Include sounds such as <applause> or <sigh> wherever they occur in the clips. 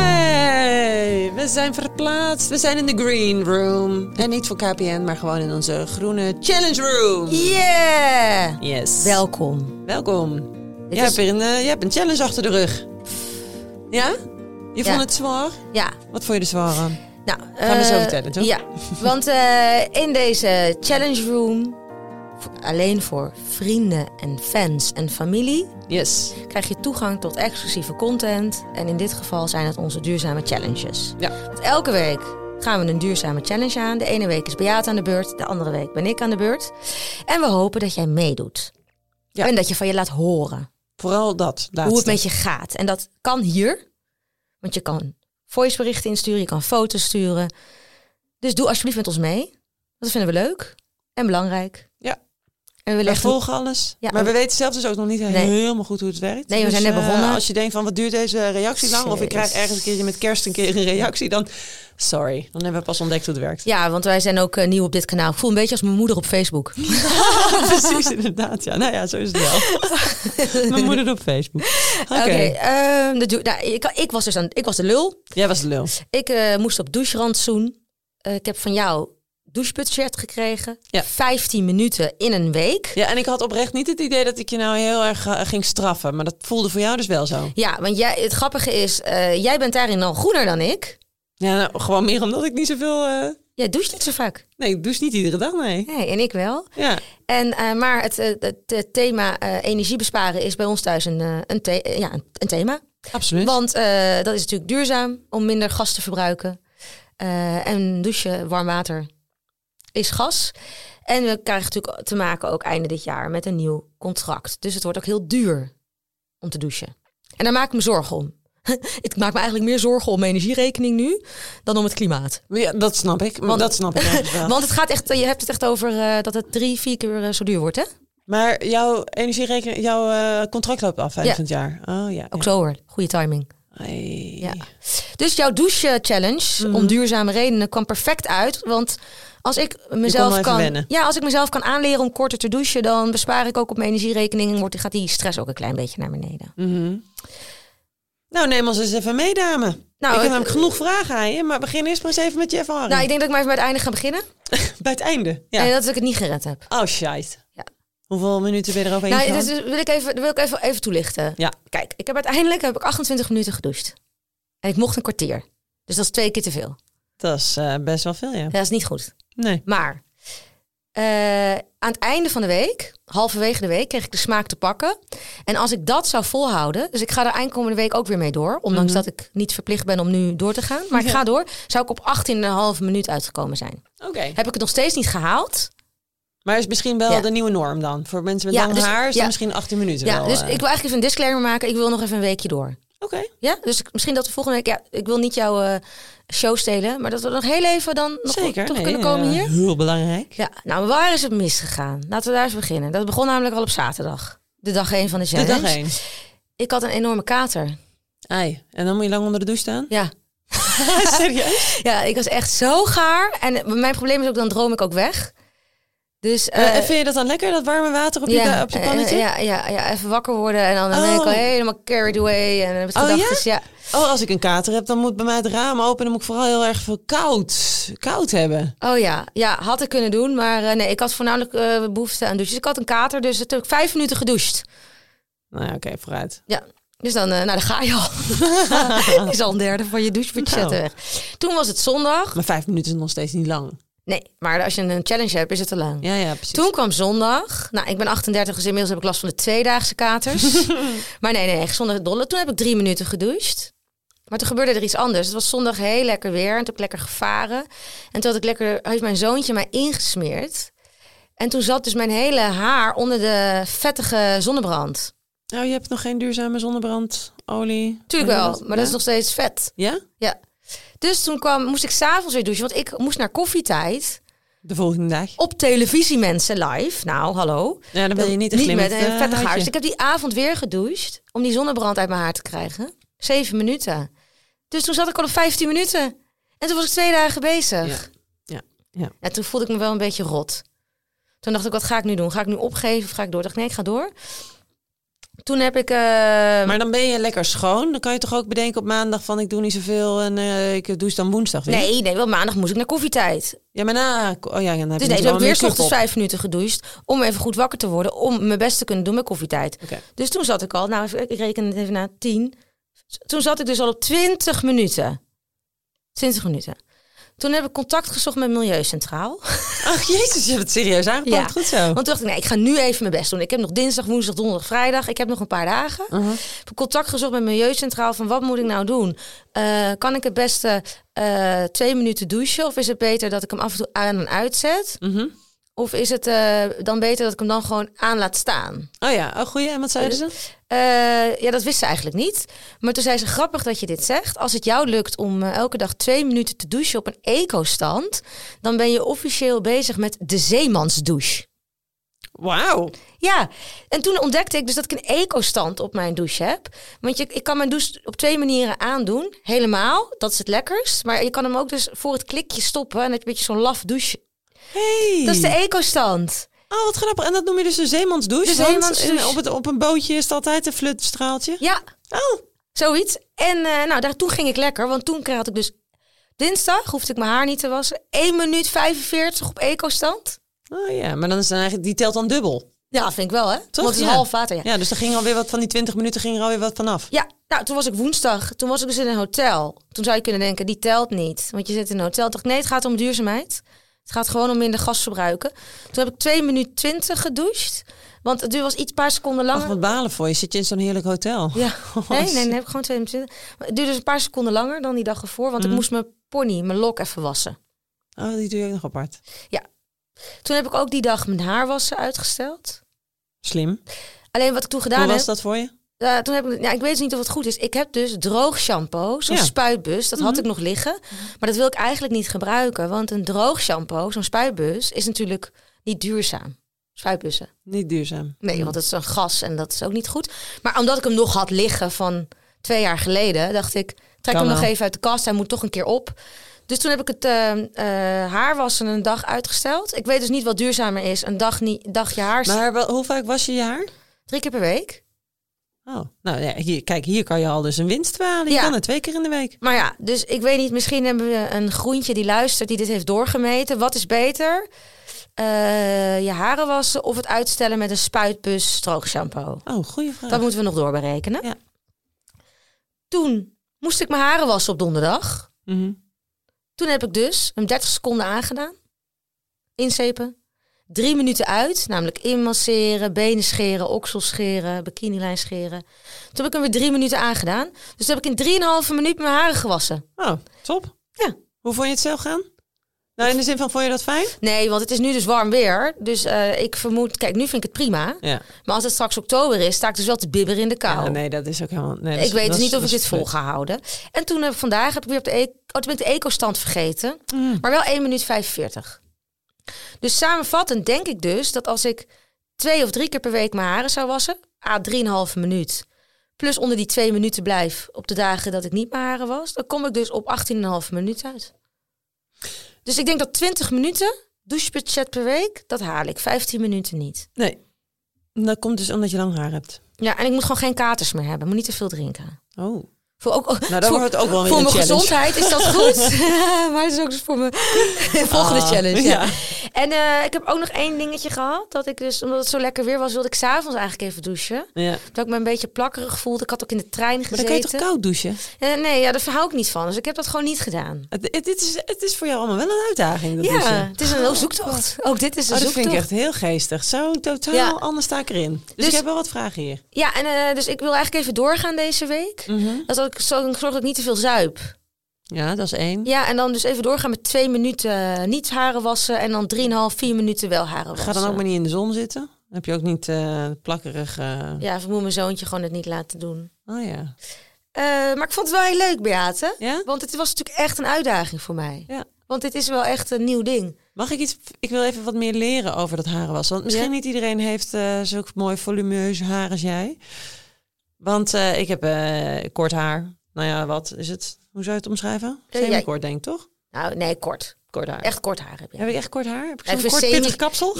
Yay! We zijn verplaatst. We zijn in de green room. En niet voor KPN, maar gewoon in onze groene challenge room. Yeah! Yes. Welkom. Welkom. Dit is- Jij, hebt weer een, eh, jij hebt een challenge achter de rug. Ja? Ja. Je vond het zwaar? Ja, Wat vond je er zwaar aan? nou... Gaan we zo eh, vertellen, toch? Ja, want eh, in deze challenge room, v- alleen voor vrienden en fans en familie, Yes. krijg je toegang tot exclusieve content. En in dit geval zijn het onze duurzame challenges. Ja. Want elke week gaan we een duurzame challenge aan. De ene week is Beate aan de beurt, de andere week ben ik aan de beurt. En we hopen dat jij meedoet. Ja. En dat je van je laat horen. Vooral dat. Laatste. hoe het met je gaat. En dat kan hier. Want je kan voiceberichten insturen, je kan foto's sturen. Dus doe alsjeblieft met ons mee. Want Dat vinden we leuk en belangrijk. Ja. En we willen We echt... een- volgen alles. Ja, maar we ook- weten zelf dus ook nog niet helemaal goed hoe het werkt. Nee, we zijn Dus, net eh, begonnen. als je denkt van wat duurt deze reactie lang? Of ik Jezus. krijg ergens een keertje met kerst een keer een reactie. Dan, sorry, dan hebben we pas ontdekt hoe het werkt. Ja, want wij zijn ook eh, nieuw op dit kanaal. Ik voel een beetje als mijn moeder op Facebook. Precies, inderdaad. Ja, nou ja, zo is het <laughs> wel. Mijn moeder doet op Facebook. <laughs> Oké. ehm, de du- nou, ik, ik, was dus aan, ik was de lul. Jij was de lul. Ik eh, moest op doucherantsoen. Eh, ik heb van jou douchebudget gekregen. Ja. 15 minuten in een week. Ja, en ik had oprecht niet het idee dat ik je nou heel erg eh, ging straffen. Maar dat voelde voor jou dus wel zo. Ja, want jij, het grappige is, eh, jij bent daarin al groener dan ik. Ja, nou, gewoon meer omdat ik niet zoveel... eh, Jij doucht niet zo vaak. nee, ik douche niet iedere dag, nee. Nee, en ik wel. Ja, En, eh, maar het, eh, het, eh, thema eh, energie besparen is bij ons thuis een, eh, een, the- eh, ja, een, een thema. absoluut. Want eh, dat is natuurlijk duurzaam om minder gas te verbruiken. Eh, en douchen, warm water is gas. En we krijgen natuurlijk te maken ook einde dit jaar met een nieuw contract. Dus het wordt ook heel duur om te douchen. En daar maak ik me zorgen om. <laughs> ik maak me eigenlijk meer zorgen om mijn energierekening nu dan om het klimaat. Ja, dat snap ik. Maar Want- dat snap ik eigenlijk wel. <laughs> Want het gaat echt, je hebt het echt over eh, dat het drie, vier keer eh, zo duur wordt, hè? Maar jouw energierekening, jouw eh, contract loopt af eind van het jaar. Oh ja. Ook zo hoor, goede timing. ja. Mhm. Ai. Ja. Dus jouw douche challenge om duurzame redenen kwam perfect uit. Want als ik mezelf even kan. wennen. Ja, als ik mezelf kan aanleren om korter te douchen, dan bespaar ik ook op mijn energierekening en wordt, gaat die stress ook een klein beetje naar beneden. Mhm. Nou, neem ons eens even mee, dame. Nou, ik heb het- namelijk genoeg vragen aan je, maar begin eerst maar eens even met je ervaring. Nou, ik denk dat ik maar even bij het einde ga beginnen. Bij het einde. Ja. En dat ik het niet gered heb. Oh, shit. Ja. Hoeveel minuten ben je eroverheen Nou, gegaan? dus wil ik even, wil ik even, even toelichten. Ja. Kijk, ik heb uiteindelijk heb ik 28 minuten gedoucht. En ik mocht een kwartier. Dus dat is twee keer te veel. Dat is eh, best wel veel, ja. Dat is niet goed. Nee. Maar eh, aan het einde van de week, halverwege de week, kreeg ik de smaak te pakken. En als ik dat zou volhouden, dus ik ga er eind komende week ook weer mee door. Ondanks Mhm. dat ik niet verplicht ben om nu door te gaan. Maar ik ga door. Zou ik op 18,5 minuut uitgekomen zijn. Oké. Heb ik het nog steeds niet gehaald? Maar is misschien wel Ja. de nieuwe norm dan? Voor mensen met Ja, lang dus- haar is dat ja. misschien 18 minuten Ja, wel. dus eh. ik wil eigenlijk even een disclaimer maken. Ik wil nog even een weekje door. Oké. Ja, dus ik- misschien dat we volgende week... Ja, ik wil niet jouw eh, show stelen. Maar dat we nog heel even dan nog Zeker. toch nee, kunnen komen eh, hier. Heel belangrijk. Ja, nou waar is het misgegaan? Laten we daar eens beginnen. Dat begon namelijk al op zaterdag. De dag 1 van de De challenge. dag één. Ik had een enorme kater. Ai. En dan moet je lang onder de douche staan? Ja. <laughs> Serieus? ja, ik was echt zo gaar. En mijn probleem is ook, dan droom ik ook weg. Dus... eh, Eh, en vind je dat dan lekker, dat warme water op je, da- op je eh, pannetje? ja, ja, ja, even wakker worden en dan ben ik Oh. al helemaal carried away en met Oh, ja? gedachten. dus Ja? Oh, als ik een kater heb, dan moet bij mij het raam open. Dan moet ik vooral heel erg veel koud, koud hebben. Oh ja, ja, had ik kunnen doen, maar eh, nee, ik had voornamelijk eh, behoefte aan douchen. Dus ik had een kater, dus natuurlijk vijf minuten gedoucht. Nou ja, oké, vooruit. Ja, dus dan, eh, nou, dan ga je al. <laughs> <laughs> is al een derde van je douchebudget Nou. weg. Toen was het zondag. Maar vijf minuten is nog steeds niet lang. Nee, maar als je een challenge hebt, is het te lang. Ja, ja, precies. Toen kwam zondag. Nou, ik ben 38, dus inmiddels heb ik last van de tweedaagse <laughs> katers. maar nee, nee, echt zondag dolle. Toen heb ik drie minuten gedoucht. Maar toen gebeurde er iets anders. Het was zondag heel lekker weer en toen heb ik lekker gevaren. En toen had ik lekker, heeft mijn zoontje mij ingesmeerd. En toen zat dus mijn hele haar onder de vettige zonnebrand. Nou, je hebt nog geen duurzame zonnebrandolie. Tuurlijk wel, maar dat is Oh, Ja? nog steeds vet. Ja? Ja. Dus toen kwam, moest ik s'avonds weer douchen, want ik moest naar koffietijd. De volgende dag. Op televisie mensen live. Nou, hallo. Ja, dan wil je niet een Niet met glimmend een eh, vettig haar. Dus huidje. ik heb die avond weer gedoucht om die zonnebrand uit mijn haar te krijgen. Zeven minuten. Dus toen zat ik al op 15 minuten. En toen was ik twee dagen bezig. Ja, ja, ja. En toen voelde ik me wel een beetje rot. Toen dacht ik, wat ga ik nu doen? Ga ik nu opgeven of ga ik door? Ik dacht, nee, ik ga door. Toen heb ik... eh, Maar dan ben je lekker schoon. Dan kan je toch ook bedenken op maandag van ik doe niet zoveel en eh, ik doe het dan woensdag weer. nee, nee, want maandag moest ik naar koffietijd. Ja, maar na... Oh ja, dan heb Dus nee, je niet toen heb wel ik weer 's make-up ochtends op. vijf minuten gedoucht. Om even goed wakker te worden. Om mijn best te kunnen doen met koffietijd. Oké. Dus toen zat ik al, nou even- ik reken het even na, tien. Toen zat ik dus al op 20 minuten. 20 minuten. Toen heb ik contact gezocht met Milieucentraal. Ach, jezus, je hebt het serieus aangepakt. Ja. Goed zo. Want toen dacht ik, nee, ik ga nu even mijn best doen. Ik heb nog dinsdag, woensdag, donderdag, vrijdag. Ik heb nog een paar dagen. Mhm. Ik heb contact gezocht met Milieucentraal van wat moet ik nou doen? Eh, kan ik het beste eh, twee minuten douchen? Of is het beter dat ik hem af en toe aan en uitzet? Mhm. Of is het eh, dan beter dat ik hem dan gewoon aan laat staan? Oh ja, oh, goeie. En wat zeiden ze? Eh, ja, dat wist ze eigenlijk niet. Maar toen zei ze, grappig dat je dit zegt. Als het jou lukt om eh, elke dag twee minuten te douchen op een eco-stand... dan ben je officieel bezig met de zeemansdouche. Wauw. Ja, en toen ontdekte ik dus dat ik een eco-stand op mijn douche heb. Want je, ik kan mijn douche op twee manieren aandoen. Helemaal, dat is het lekkerst. Maar je kan hem ook dus voor het klikje stoppen... en dan heb je een beetje zo'n laf douche. Hey. Dat is de eco-stand. Oh, wat grappig. En dat noem je dus een zeemansdouche? De want zeemansdouche. in- Op, het, op een bootje is het altijd een flutstraaltje. Ja, Oh, Zoiets. En eh, nou, daar, toen ging ik lekker. Want toen had ik dus... Dinsdag hoefde ik mijn haar niet te wassen. 1 minuut 45 op eco-stand. oh ja. Maar dan is dan eigenlijk, die telt dan dubbel. Ja, vind ik wel, hè? Toch? Want het is Ja. half water, ja. ja. Ja, dus dan ging alweer wat van die 20 minuten ging er alweer wat vanaf. nou, toen was ik woensdag. Toen was ik dus in een hotel. Toen zou je kunnen denken, die telt niet. Want je zit in een hotel. Ik dacht, nee, het gaat om duurzaamheid. Het gaat gewoon om minder gas verbruiken. Toen heb ik 2 minuten 20 gedoucht. Want het duurde was iets een paar seconden Ach, langer. wat balen voor je. Zit je in zo'n heerlijk hotel? Ja, nee, nee, nee, heb ik gewoon 2 minuten 20. Maar Het duurde dus een paar seconden langer dan die dag ervoor. Want ik moest mijn pony, mijn lok even wassen. Oh, die doe je ook nog apart. Toen heb ik ook die dag mijn haarwassen uitgesteld. Slim. Alleen wat ik toen gedaan Hoe was heb, dat voor je? eh, toen heb ik, ja, ik weet dus niet of het goed is. Ik heb dus droog shampoo, zo'n Ja. Mhm. spuitbus, dat had ik nog liggen. Maar dat wil ik eigenlijk niet gebruiken, want een droog shampoo, zo'n spuitbus, is natuurlijk niet duurzaam. Spuitbussen. Niet duurzaam. Nee, want het is een gas en dat is ook niet goed. Maar omdat ik hem nog had liggen van twee jaar geleden, dacht ik, trek Kan hem nog wel. even uit de kast. Hij moet toch een keer op. Dus toen heb ik het eh eh, haarwassen een dag uitgesteld. Ik weet dus niet wat duurzamer is. Een dag, niet, dag je haar Maar wel, hoe vaak was je je haar? Drie keer per week. Oh, nou ja, hier, kijk, hier kan je al dus een winst behalen. Je Ja. kan het twee keer in de week. Maar ja, dus ik weet niet, misschien hebben we een groentje die luistert, die dit heeft doorgemeten. Wat is beter? Eh, je haren wassen of het uitstellen met een spuitbus stroogshampoo? Oh, goede vraag. Dat moeten we nog doorberekenen. Ja. Toen moest ik mijn haren wassen op donderdag. Mhm. Toen heb ik dus hem 30 seconden aangedaan. Inzepen. Drie minuten uit, namelijk inmasseren, benen scheren, oksels scheren, bikinilijn scheren. Toen heb ik hem weer drie minuten aangedaan. Dus toen heb ik in drieënhalve minuut mijn haren gewassen. Oh, top. Ja. Hoe vond je het zelf gaan? Nou, in de zin van, vond je dat fijn? Nee, want het is nu dus warm weer. Dus eh, ik vermoed, kijk, nu vind ik het prima. Ja. Maar als het straks oktober is, sta ik dus wel te bibberen in de kou. Ja, nee, dat is ook helemaal... Nee, dat ik weet is- dus dat is- niet of dat ik is dit vol ga houden. En toen heb ik vandaag heb ik weer op de, e oh, toen ben ik de eco-stand vergeten. Mm. Maar wel 1 minuut 45. Dus samenvattend denk ik dus dat als ik twee of drie keer per week mijn haren zou wassen, a 3,5 minuut. Plus onder die twee minuten blijf op de dagen dat ik niet mijn haren was, dan kom ik dus op 18,5 minuut uit. Dus ik denk dat 20 minuten douchebudget per week, dat haal ik. 15 minuten niet. Nee. Dat komt dus omdat je lang haar hebt. Ja, en ik moet gewoon geen katers meer hebben. Moet niet te veel drinken. Oh. Voor, ook, Nou, dan voor, wordt het ook wel weer voor een mijn challenge. gezondheid is dat <laughs> goed. <laughs> maar het is ook dus voor mijn volgende Ah, challenge. Ja. <laughs> ja. En eh, ik heb ook nog één dingetje gehad. Dat ik dus, omdat het zo lekker weer was, wilde ik s'avonds eigenlijk even douchen. Ja. Dat ik me een beetje plakkerig voelde. Ik had ook in de trein Maar gezeten. dan kan je toch koud douchen? Eh, nee, ja, daar verhou ik niet van. Dus ik heb dat gewoon niet gedaan. Het, het, dit is, het is voor jou allemaal wel een uitdaging, dat ja, douchen. het is een zoektocht. Ook dit is een Oh, zoektocht. dat vind ik echt heel geestig. Zo totaal Ja. anders sta ik erin. Dus, Dus- ik heb wel wat vragen hier. Ja, en eh, dus ik wil eigenlijk even doorgaan deze week. Mhm. Dat ik, zo, ik zorg dat ik niet te veel zuip. Ja, dat is één. Ja, en dan dus even doorgaan met twee minuten eh, niet haren wassen. En dan drieënhalf, vier minuten wel haren wassen. Ga dan ook maar niet in de zon zitten. Dan heb je ook niet eh, plakkerig... eh, Ja, ik moet mijn zoontje gewoon het niet laten doen. Oh ja. Eh, maar ik vond het wel heel leuk, Beate. Ja? Want het was natuurlijk echt een uitdaging voor mij. Ja. Want dit is wel echt een nieuw ding. Mag ik iets? Ik wil even wat meer leren over dat harenwassen. Want misschien Ja. niet iedereen heeft eh zulke mooi volumeus haar als jij. Want eh, ik heb eh, kort haar. Nou ja, wat is het? Hoe zou je het omschrijven? jij- Semi-kort, denk ik, toch? Nou, nee, kort. Kort haar. Echt kort haar heb je. Heb ik echt kort haar? Heb ik Even zo'n kort semi- pittig <laughs> kapsel?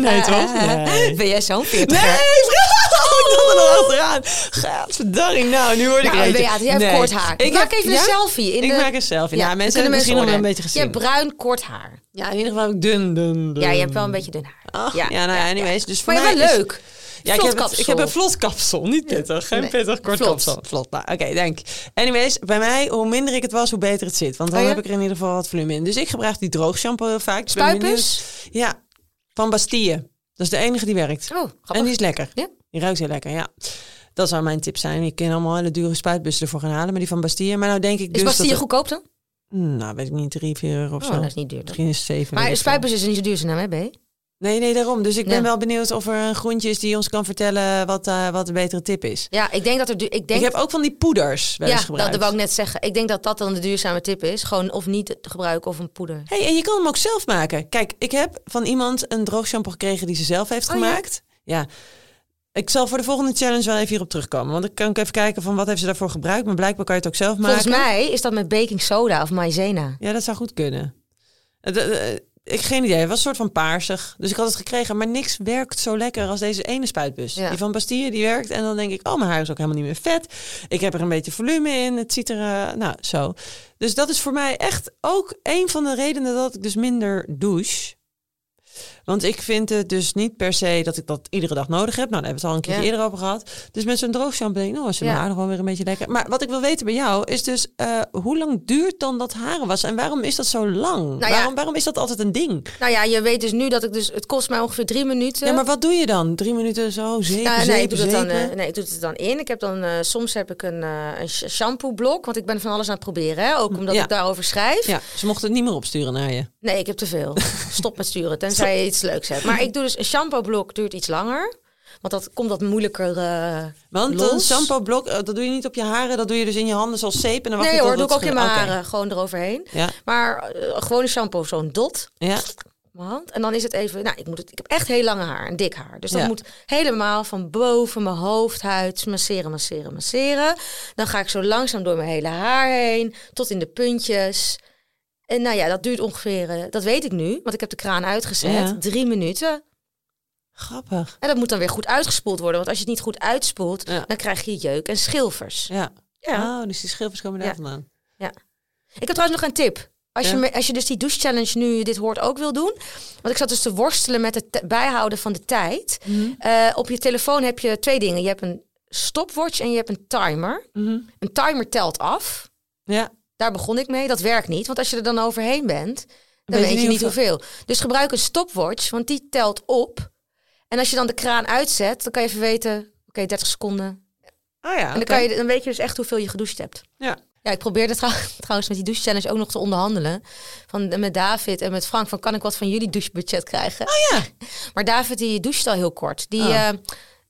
nee, toch? Nee. Eh, Ben jij zo'n Nee, veertiger? vrouw, <laughs> ik dacht er nog achteraan. Gadverdarring, nou, nu word ik Nou, eentje. Beate, jij hebt Nee. kort haar. Ik maak heb- even ja? een selfie. In Ik de- maak een selfie. Nou, dan mensen kunnen hebben misschien mensen al wel een oordelen. Je beetje hebt bruin kort haar. Ja, in ieder geval heb ik dun, dun, dun. Ja, je hebt wel een beetje dun haar. Ach, ja, nou ja, anyways. Dus voor Maar je mij bent is- leuk. Ja, ik Vlot heb, het- ik kapsel. heb een vlot kapsel, niet pittig. Geen Nee. pittig, kort Vlot. kapsel. Vlot, nou, oké, dank. Anyways, bij mij, hoe minder ik het was, hoe beter het zit. Want dan Oh ja? heb ik er in ieder geval wat volume in. Dus ik gebruik die droogshampoo heel vaak. Dus ik ben Spuitbus? benieuwd. Ja, van Bastille. Dat is de enige die werkt. Oh, grappig. En die is lekker. Ja. Die ruikt heel lekker, ja. Dat zou mijn tip zijn. Je kan allemaal hele dure spuitbussen ervoor gaan halen, maar die van Bastille. Maar nou denk ik Is dus Bastille dat... goedkoop dan? goed? Nou, weet ik niet, drie, vier euro of Oh, zo. dat is niet duur. dan. Misschien is het zeven. weet Maar ik veel. spuitbus is niet zo duur zijn naam, hè, B? Nee, nee, daarom. Dus ik ben Ja. wel benieuwd of er een groentje is die ons kan vertellen wat, eh, wat de betere tip is. Ja, ik denk dat er... du- Ik denk Ik heb ook van die poeders wel ja, eens dat, gebruikt. dat wou ik net zeggen. Ik denk dat dat dan de duurzame tip is. Gewoon of niet te gebruiken of een poeder. hey, en je kan hem ook zelf maken. Kijk, ik heb van iemand een droogshampoo gekregen die ze zelf heeft Oh, ja? gemaakt. Ja? Ik zal voor de volgende challenge wel even hierop terugkomen. Want ik kan ook even kijken van wat heeft ze daarvoor gebruikt. Maar blijkbaar kan je het ook zelf maken. Volgens mij is dat met baking soda of maizena. Ja, dat zou goed kunnen. Het, eh, eh, ik geen idee. Het was een soort van paarsig. Dus ik had het gekregen. Maar niks werkt zo lekker als deze ene spuitbus. Ja. Die van Bastille, die werkt. En dan denk ik, oh, mijn haar is ook helemaal niet meer vet. Ik heb er een beetje volume in. Het ziet er, eh, nou, zo. Dus dat is voor mij echt ook een van de redenen dat ik dus minder douche. Want ik vind het dus niet per se dat ik dat iedere dag nodig heb. Nou, daar hebben we het al een keer Ja. eerder over gehad. Dus met zo'n droogshampoo denk ik, nou, is mijn Ja. haar nog wel weer een beetje lekker. Maar wat ik wil weten bij jou is dus, eh, hoe lang duurt dan dat haren was? En waarom is dat zo lang? Nou ja. waarom, waarom is dat altijd een ding? Nou ja, je weet dus nu dat ik dus... Het kost mij ongeveer drie minuten. Ja, maar wat doe je dan? Drie minuten zo, zeven, Nou, nee, ik zeven, doe dat dan, zeven? eh, nee, ik doe het er dan in. Ik heb dan, eh, soms heb ik een, eh een sh- shampoo-blok, want ik ben van alles aan het proberen. Hè? Ook omdat Ja. ik daarover schrijf. Ja, ze mochten het niet meer opsturen naar je. Nee, ik heb te <laughs> veel. Stop met sturen, tenzij je iets leuks hebt. Maar ik doe dus een shampoo-blok, duurt iets langer. Want dat komt wat moeilijker eh Want los. een shampoo-blok, eh, dat doe je niet op je haren. Dat doe je dus in je handen zoals zeep. En dan wacht Nee je tot hoor, doe het ik ook in mijn schuurt. Oké. haren. Gewoon eroverheen. Ja, Maar eh, gewone shampoo, zo'n dot ja. op mijn hand. En dan is het even... Nou, ik, moet het, ik heb echt heel lange haar en dik haar. Dus dat Ja. moet helemaal van boven mijn hoofdhuid masseren, masseren, masseren. Dan ga ik zo langzaam door mijn hele haar heen. Tot in de puntjes. En nou ja, dat duurt ongeveer... eh, dat weet ik nu, want ik heb de kraan uitgezet. Ja. Drie minuten. Grappig. En dat moet dan weer goed uitgespoeld worden. Want als je het niet goed uitspoelt, Ja. dan krijg je jeuk en schilfers. Ja. Ja. Oh, dus die schilfers komen daar Ja. vandaan. Ik heb trouwens nog een tip. Als, Ja. je, me- als je dus die douche challenge nu dit hoort ook wil doen. Want ik zat dus te worstelen met het te- bijhouden van de tijd. Eh, op je telefoon heb je twee dingen. Je hebt een stopwatch en je hebt een timer. Mhm. Een timer telt af. Ja. Daar begon ik mee. Dat werkt niet. Want als je er dan overheen bent, dan Weet weet, je je niet niet hoeveel. Dus gebruik een stopwatch, want die telt op. En als je dan de kraan uitzet, dan kan je even weten... Oké, 30 seconden. Oh ja. En dan, kan je, dan weet je dus echt hoeveel je gedoucht hebt. Ja. Ja, ik probeerde trouw- <laughs> trouwens met die douche challenge ook nog te onderhandelen. Van, eh, met David en met Frank, van kan ik wat van jullie douchebudget krijgen? Oh ja. <laughs> Maar David die doucht al heel kort. Die Oh.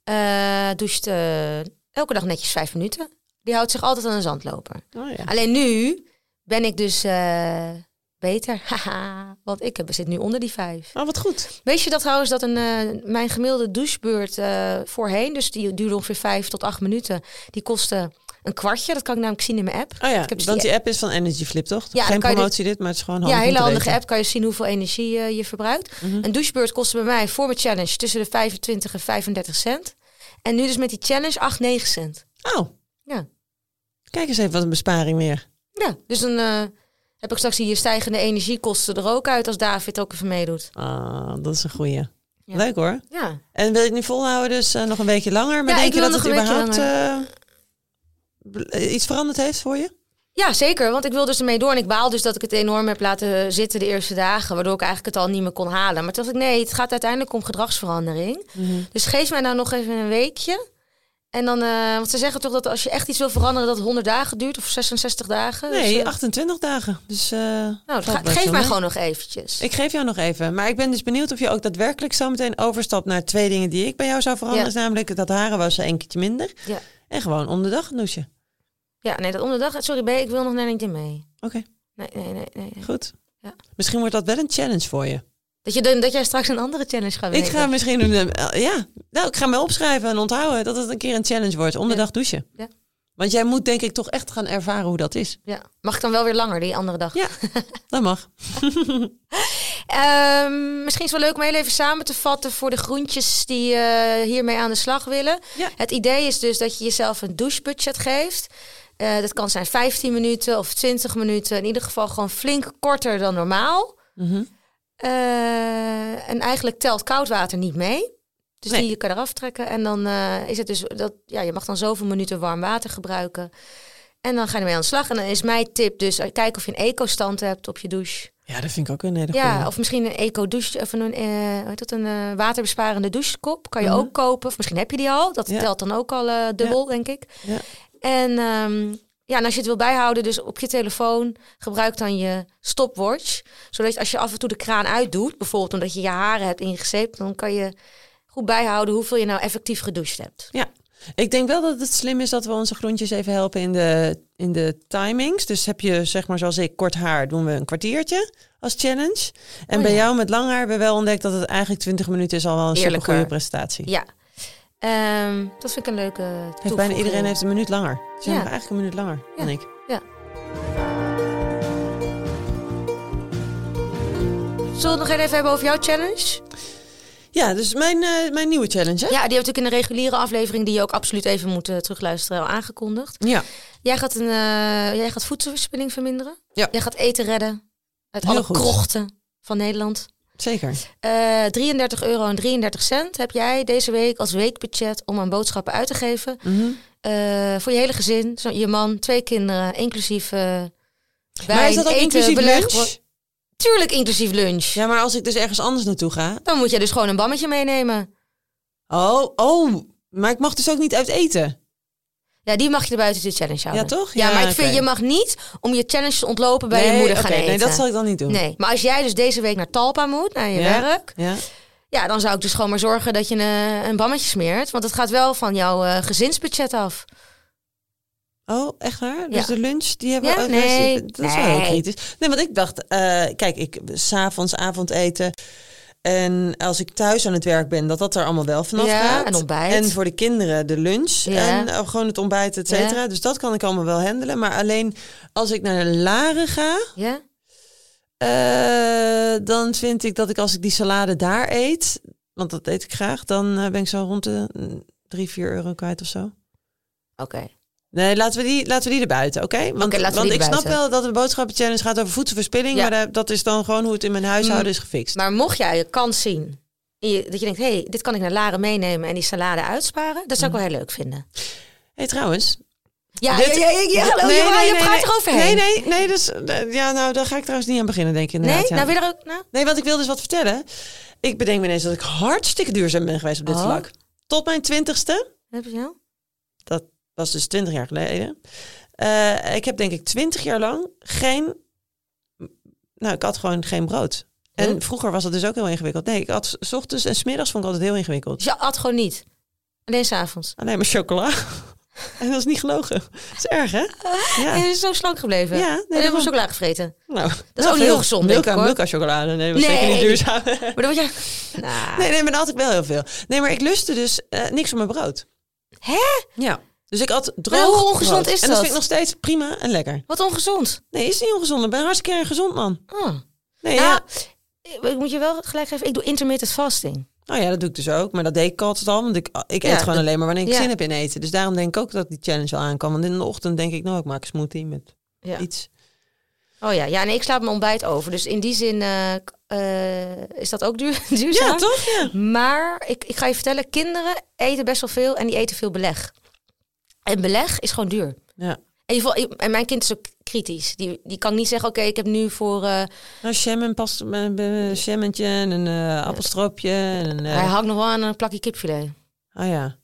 eh, eh, doucht eh, elke dag netjes vijf minuten. Die houdt zich altijd aan een zandloper. Oh ja. Alleen nu ben ik dus eh, beter. <laughs> Haha, want ik heb- zit nu onder die vijf. Oh, wat goed. Weet je dat trouwens dat een, eh, mijn gemiddelde douchebeurt eh, voorheen, dus die duurde ongeveer vijf tot acht minuten, die kostte een kwartje. Dat kan ik namelijk zien in mijn app. Oh ja, Ik heb dus want die die app is van Energy Flip, toch? Ja, Geen dan kan je promotie dit, maar het is gewoon handig Ja, om hele te handige weten. app kan je zien hoeveel energie eh, je verbruikt. Een douchebeurt kostte bij mij voor mijn challenge tussen de 25 en 35 cent. En nu dus met die challenge 8, 9 cent. Oh, Ja, kijk eens even wat een besparing weer. ja. dus dan eh, heb ik straks hier stijgende energiekosten er ook uit als David ook even meedoet. Ah, dat is een goeie. Ja. Leuk hoor. Ja, En wil je het nu volhouden, dus eh, nog een weekje langer? Maar Ja, ik denk je wil dat het nog een weekje überhaupt eh, bl- eh, iets veranderd heeft voor je? ja zeker, want ik wil dus ermee door. En ik baal dus dat ik het enorm heb laten eh, zitten de eerste dagen, waardoor ik eigenlijk het al niet meer kon halen. Maar toen dacht ik, nee, het gaat uiteindelijk om gedragsverandering. Dus geef mij nou nog even een weekje. En dan, eh, want ze zeggen toch dat als je echt iets wil veranderen, dat het 100 dagen duurt of 66 dagen. Dus, eh, Nee, 28 dagen. Dus, eh, nou, valt ga- best geef wel mij mee. gewoon nog eventjes. Ik geef jou nog even. Maar ik ben dus benieuwd of je ook daadwerkelijk zo meteen overstapt naar twee dingen die ik bij jou zou veranderen. Ja. Is namelijk dat haren wassen een keertje minder. Ja. En gewoon om de dag een douche. Ja, nee, dat om de dag. Sorry, B, ik wil nog naar LinkedIn mee. Oké, Nee, nee, nee. nee, nee. goed. Ja. Misschien wordt dat wel een challenge voor je. Dat, je, dan- dat jij straks een andere challenge gaat Ik weten. ga misschien eh, een. eh, ja, nou, ik ga me opschrijven en onthouden dat het een keer een challenge wordt. Om de Ja. dag douchen. Ja. Want jij moet denk ik toch echt gaan ervaren hoe dat is. Ja. Mag ik dan wel weer langer die andere dag? Ja, dat mag. Ehm, misschien is het wel leuk om heel even samen te vatten voor de groentjes die eh, hiermee aan de slag willen. Ja. Het idee is dus dat je jezelf een douchebudget geeft. Eh, dat kan zijn 15 minuten of 20 minuten. In ieder geval gewoon flink korter dan normaal. Mhm. Eh, en eigenlijk telt koud water niet mee. Dus Nee. die kan je eraf trekken. En dan eh, is het dus dat ja, je mag dan zoveel minuten warm water gebruiken. En dan ga je ermee aan de slag. En dan is mijn tip dus: eh, kijk of je een eco-stand hebt op je douche. Ja, dat vind ik ook een hele goeie. Ja, of misschien een eco-douche, of een, eh, hoe heet dat, een eh, waterbesparende douchekop. Kan je Mhm. ook kopen, of misschien heb je die al. Dat Ja. telt dan ook al eh, dubbel, denk ik. Ja. En, ehm, ja, en als je het wil bijhouden, dus op je telefoon, gebruik dan je stopwatch. Zodat je als je af en toe de kraan uitdoet, bijvoorbeeld omdat je je haren hebt ingezeept, dan kan je goed bijhouden hoeveel je nou effectief gedoucht hebt. Ik denk wel dat het slim is dat we onze groentjes even helpen in de, in de timings. Dus heb je, zeg maar zoals ik, kort haar, doen we een kwartiertje als challenge. En Oh, bij ja. jou met lang haar hebben we wel ontdekt dat het eigenlijk 20 minuten is al wel een Eerlijker. super goede prestatie. Ja, Ehm, dat vind ik een leuke Heeft bijna toevoeging. iedereen heeft een minuut langer. Ze Ja. hebben eigenlijk een minuut langer dan ik. Zullen we het nog even hebben over jouw challenge? Ja, dus mijn, eh, mijn nieuwe challenge. Hè? Ja, die heb ik in de reguliere aflevering, die je ook absoluut even moet eh, terugluisteren, al aangekondigd. Ja. Jij gaat, een, eh, jij gaat voedselverspilling verminderen. Ja. Jij gaat eten redden. Uit Heel alle goed. krochten van Nederland. zeker. Eh 33 euro en 33 cent heb jij deze week als weekbudget om aan boodschappen uit te geven. Mhm. Eh, voor je hele gezin, zo- je man, twee kinderen, inclusief eh wijn, Maar is dat ook eten, inclusief beleg, lunch? wo- Tuurlijk inclusief lunch. Ja, maar als ik dus ergens anders naartoe ga. Dan moet je dus gewoon een bammetje meenemen. Oh, oh, maar ik mag dus ook niet uit eten. Ja, die mag je er buiten de challenge houden. toch? Ja, Ja, maar ik vind, oké. je mag niet om je challenge te ontlopen bij je Nee, moeder oké, gaan eten. Nee, dat zal ik dan niet doen. Nee, maar als jij dus deze week naar Talpa moet, naar je Ja. werk, Ja. ja, dan zou ik dus gewoon maar zorgen dat je een, een bammetje smeert. Want het gaat wel van jouw eh, gezinsbudget af. Oh, echt waar? Dus Ja. de lunch, die hebben we... Ja, oh, dat is- nee, Dat is wel heel nee. kritisch. Nee, want ik dacht... eh, kijk, ik s'avonds avondeten. En als ik thuis aan het werk ben, dat dat er allemaal wel vanaf ja, gaat. en ontbijt. En voor de kinderen de lunch Ja. en eh, gewoon het ontbijt, et cetera. Dus dat kan ik allemaal wel handelen. Maar alleen als ik naar Laren ga, Ja? eh, dan vind ik dat ik als ik die salade daar eet, want dat eet ik graag, dan eh, ben ik zo rond de mm, 3, 4 euro kwijt of zo. Oké. Nee, laten we die, laten we die erbuiten, oké? Want, Oké, laten we want die ik snap erbuiten. wel dat de boodschappenchallenge gaat over voedselverspilling. Ja. Mm. Maar daar- dat is dan gewoon hoe het in mijn huishouden is gefixt. Maar mocht jij je kans zien, in je- dat je denkt, hé, hey, dit kan ik naar Laren meenemen en die salade uitsparen, dat zou ik wel heel leuk vinden. hey, trouwens. Ja, dit- ja, ja, ja, ja, hallo, Nee, Johan, nee, je nee, praat nee. eroverheen. Nee, nee, nee. Dus, eh, ja, nou, daar ga ik trouwens niet aan beginnen, denk Nee? ik inderdaad. ja. Nou, wil je er ook... Nou? Nee, want ik wil dus wat vertellen. Ik bedenk me ineens dat ik hartstikke duurzaam ben geweest op dit Oh. vlak. Tot mijn twintigste, Heb je wel? was dus twintig jaar geleden. eh, ik heb denk ik twintig jaar lang geen... Nou, ik had gewoon geen brood. En Huh? vroeger was dat dus ook heel ingewikkeld. Nee, ik had s- 's ochtends en 's middags vond ik altijd heel ingewikkeld. Dus je at gewoon niet? Alleen s'avonds? Alleen maar chocola. <laughs> en dat is niet gelogen. Dat is erg, hè? Ja. Je Ja. is zo slank gebleven. Ja, nee, Eh, en dat heb je was- chocola gevreten. Nou, Dat is ook niet heel gezond, denk ik, hoor. Milka chocolade. Nee, dat was Nee. zeker niet duurzaam. Maar dan word <laughs> je... Nou, Nee, nee, maar dan had ik wel heel veel. Nee, maar ik lustte dus eh, niks op mijn brood. Hè? Ja. Dus ik had droog Maar hoe ongezond brood. is En dat dat? vind ik nog steeds prima en lekker. Wat ongezond. Nee, is niet ongezond. Ik ben hartstikke een gezond man. Oh. Nou, Nee, ja. ik- ik moet je wel gelijk geven, ik doe intermittent fasting. Nou ja, dat doe ik dus ook. Maar dat deed ik altijd al. Want ik, oh, ik eet Ja, gewoon dat- alleen maar wanneer ik ja. zin heb in eten. Dus daarom denk ik ook dat die challenge wel aankwam. Want in de ochtend denk ik, nou, ik maak een smoothie met Ja. iets. Oh ja, ja, nee, ik slaap mijn ontbijt over. Dus in die zin eh, k- eh, is dat ook duur, <laughs> duurzaam. Ja, toch? Ja. Maar ik, ik ga je vertellen, kinderen eten best wel veel en die eten veel beleg. En beleg is gewoon duur. ja. En, je, vo- en mijn kind is ook kritisch. Die, die kan niet zeggen, oké, ik heb nu voor... eh, Nou, jam en past, een jammentje en een eh, appelstroopje. En een, eh, Hij hangt nog wel aan een plakje kipfilet. oh ja,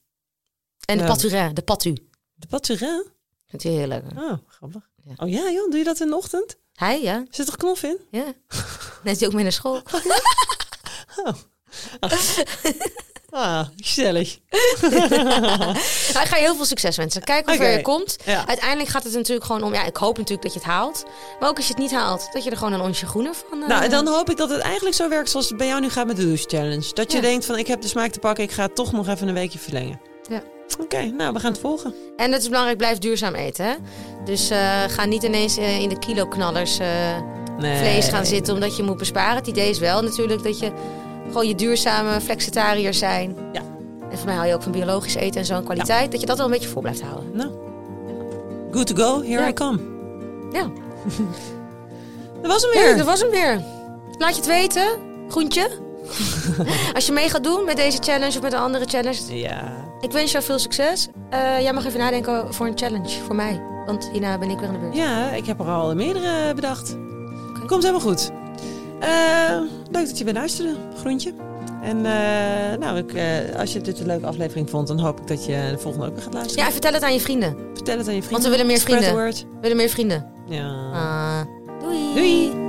En de Ja. paturin, de patu. de paturin. Vindt hij heel lekker. Oh, grappig. Ja. Oh ja, joh, doe je dat in de ochtend? Hij, ja. Zit er knof in? ja. <laughs> Net is hij ook mee naar school. Ah, gezellig. Nou, ik ga je heel veel succes wensen. Kijk hoe Oké. ver je komt. Ja. Uiteindelijk gaat het natuurlijk gewoon om... Ja, ik hoop natuurlijk dat je het haalt. Maar ook als je het niet haalt, dat je er gewoon een onsje groener van... eh, Nou, en dan hoop ik dat het eigenlijk zo werkt zoals het bij jou nu gaat met de douche challenge. Dat je Ja. denkt van ik heb de smaak te pakken, ik ga het toch nog even een weekje verlengen. Ja. Oké, nou, we gaan het volgen. En het is belangrijk, blijf duurzaam eten. Hè? Dus eh, ga niet ineens eh, in de kiloknallers eh Nee. vlees gaan zitten omdat je moet besparen. Het idee is wel natuurlijk dat je gewoon je duurzame flexitariër zijn. Ja. En voor mij hou je ook van biologisch eten en zo'n kwaliteit. Dat je dat wel een beetje voor blijft houden. Nou, good to go, here Ja. I come. Ja, <laughs> Dat was hem ja weer. dat was hem weer. Laat je het weten, <laughs> groentje. Als je mee gaat doen met deze challenge of met een andere challenge. ja. Ik wens jou veel succes. Eh, jij mag even nadenken voor een challenge voor mij. Want hierna ben ik weer aan de beurt. ja, ik heb er al meerdere bedacht. Komt helemaal goed. Eh, leuk dat je bent luisteren, Groentje. En eh, nou, ik, eh, als je dit een leuke aflevering vond, dan hoop ik dat je de volgende ook weer gaat luisteren. Ja, en vertel het aan je vrienden. Vertel het aan je vrienden. Want we willen meer Spread the vrienden. Ah. word. We willen meer vrienden. Ja. Ah, doei. Doei.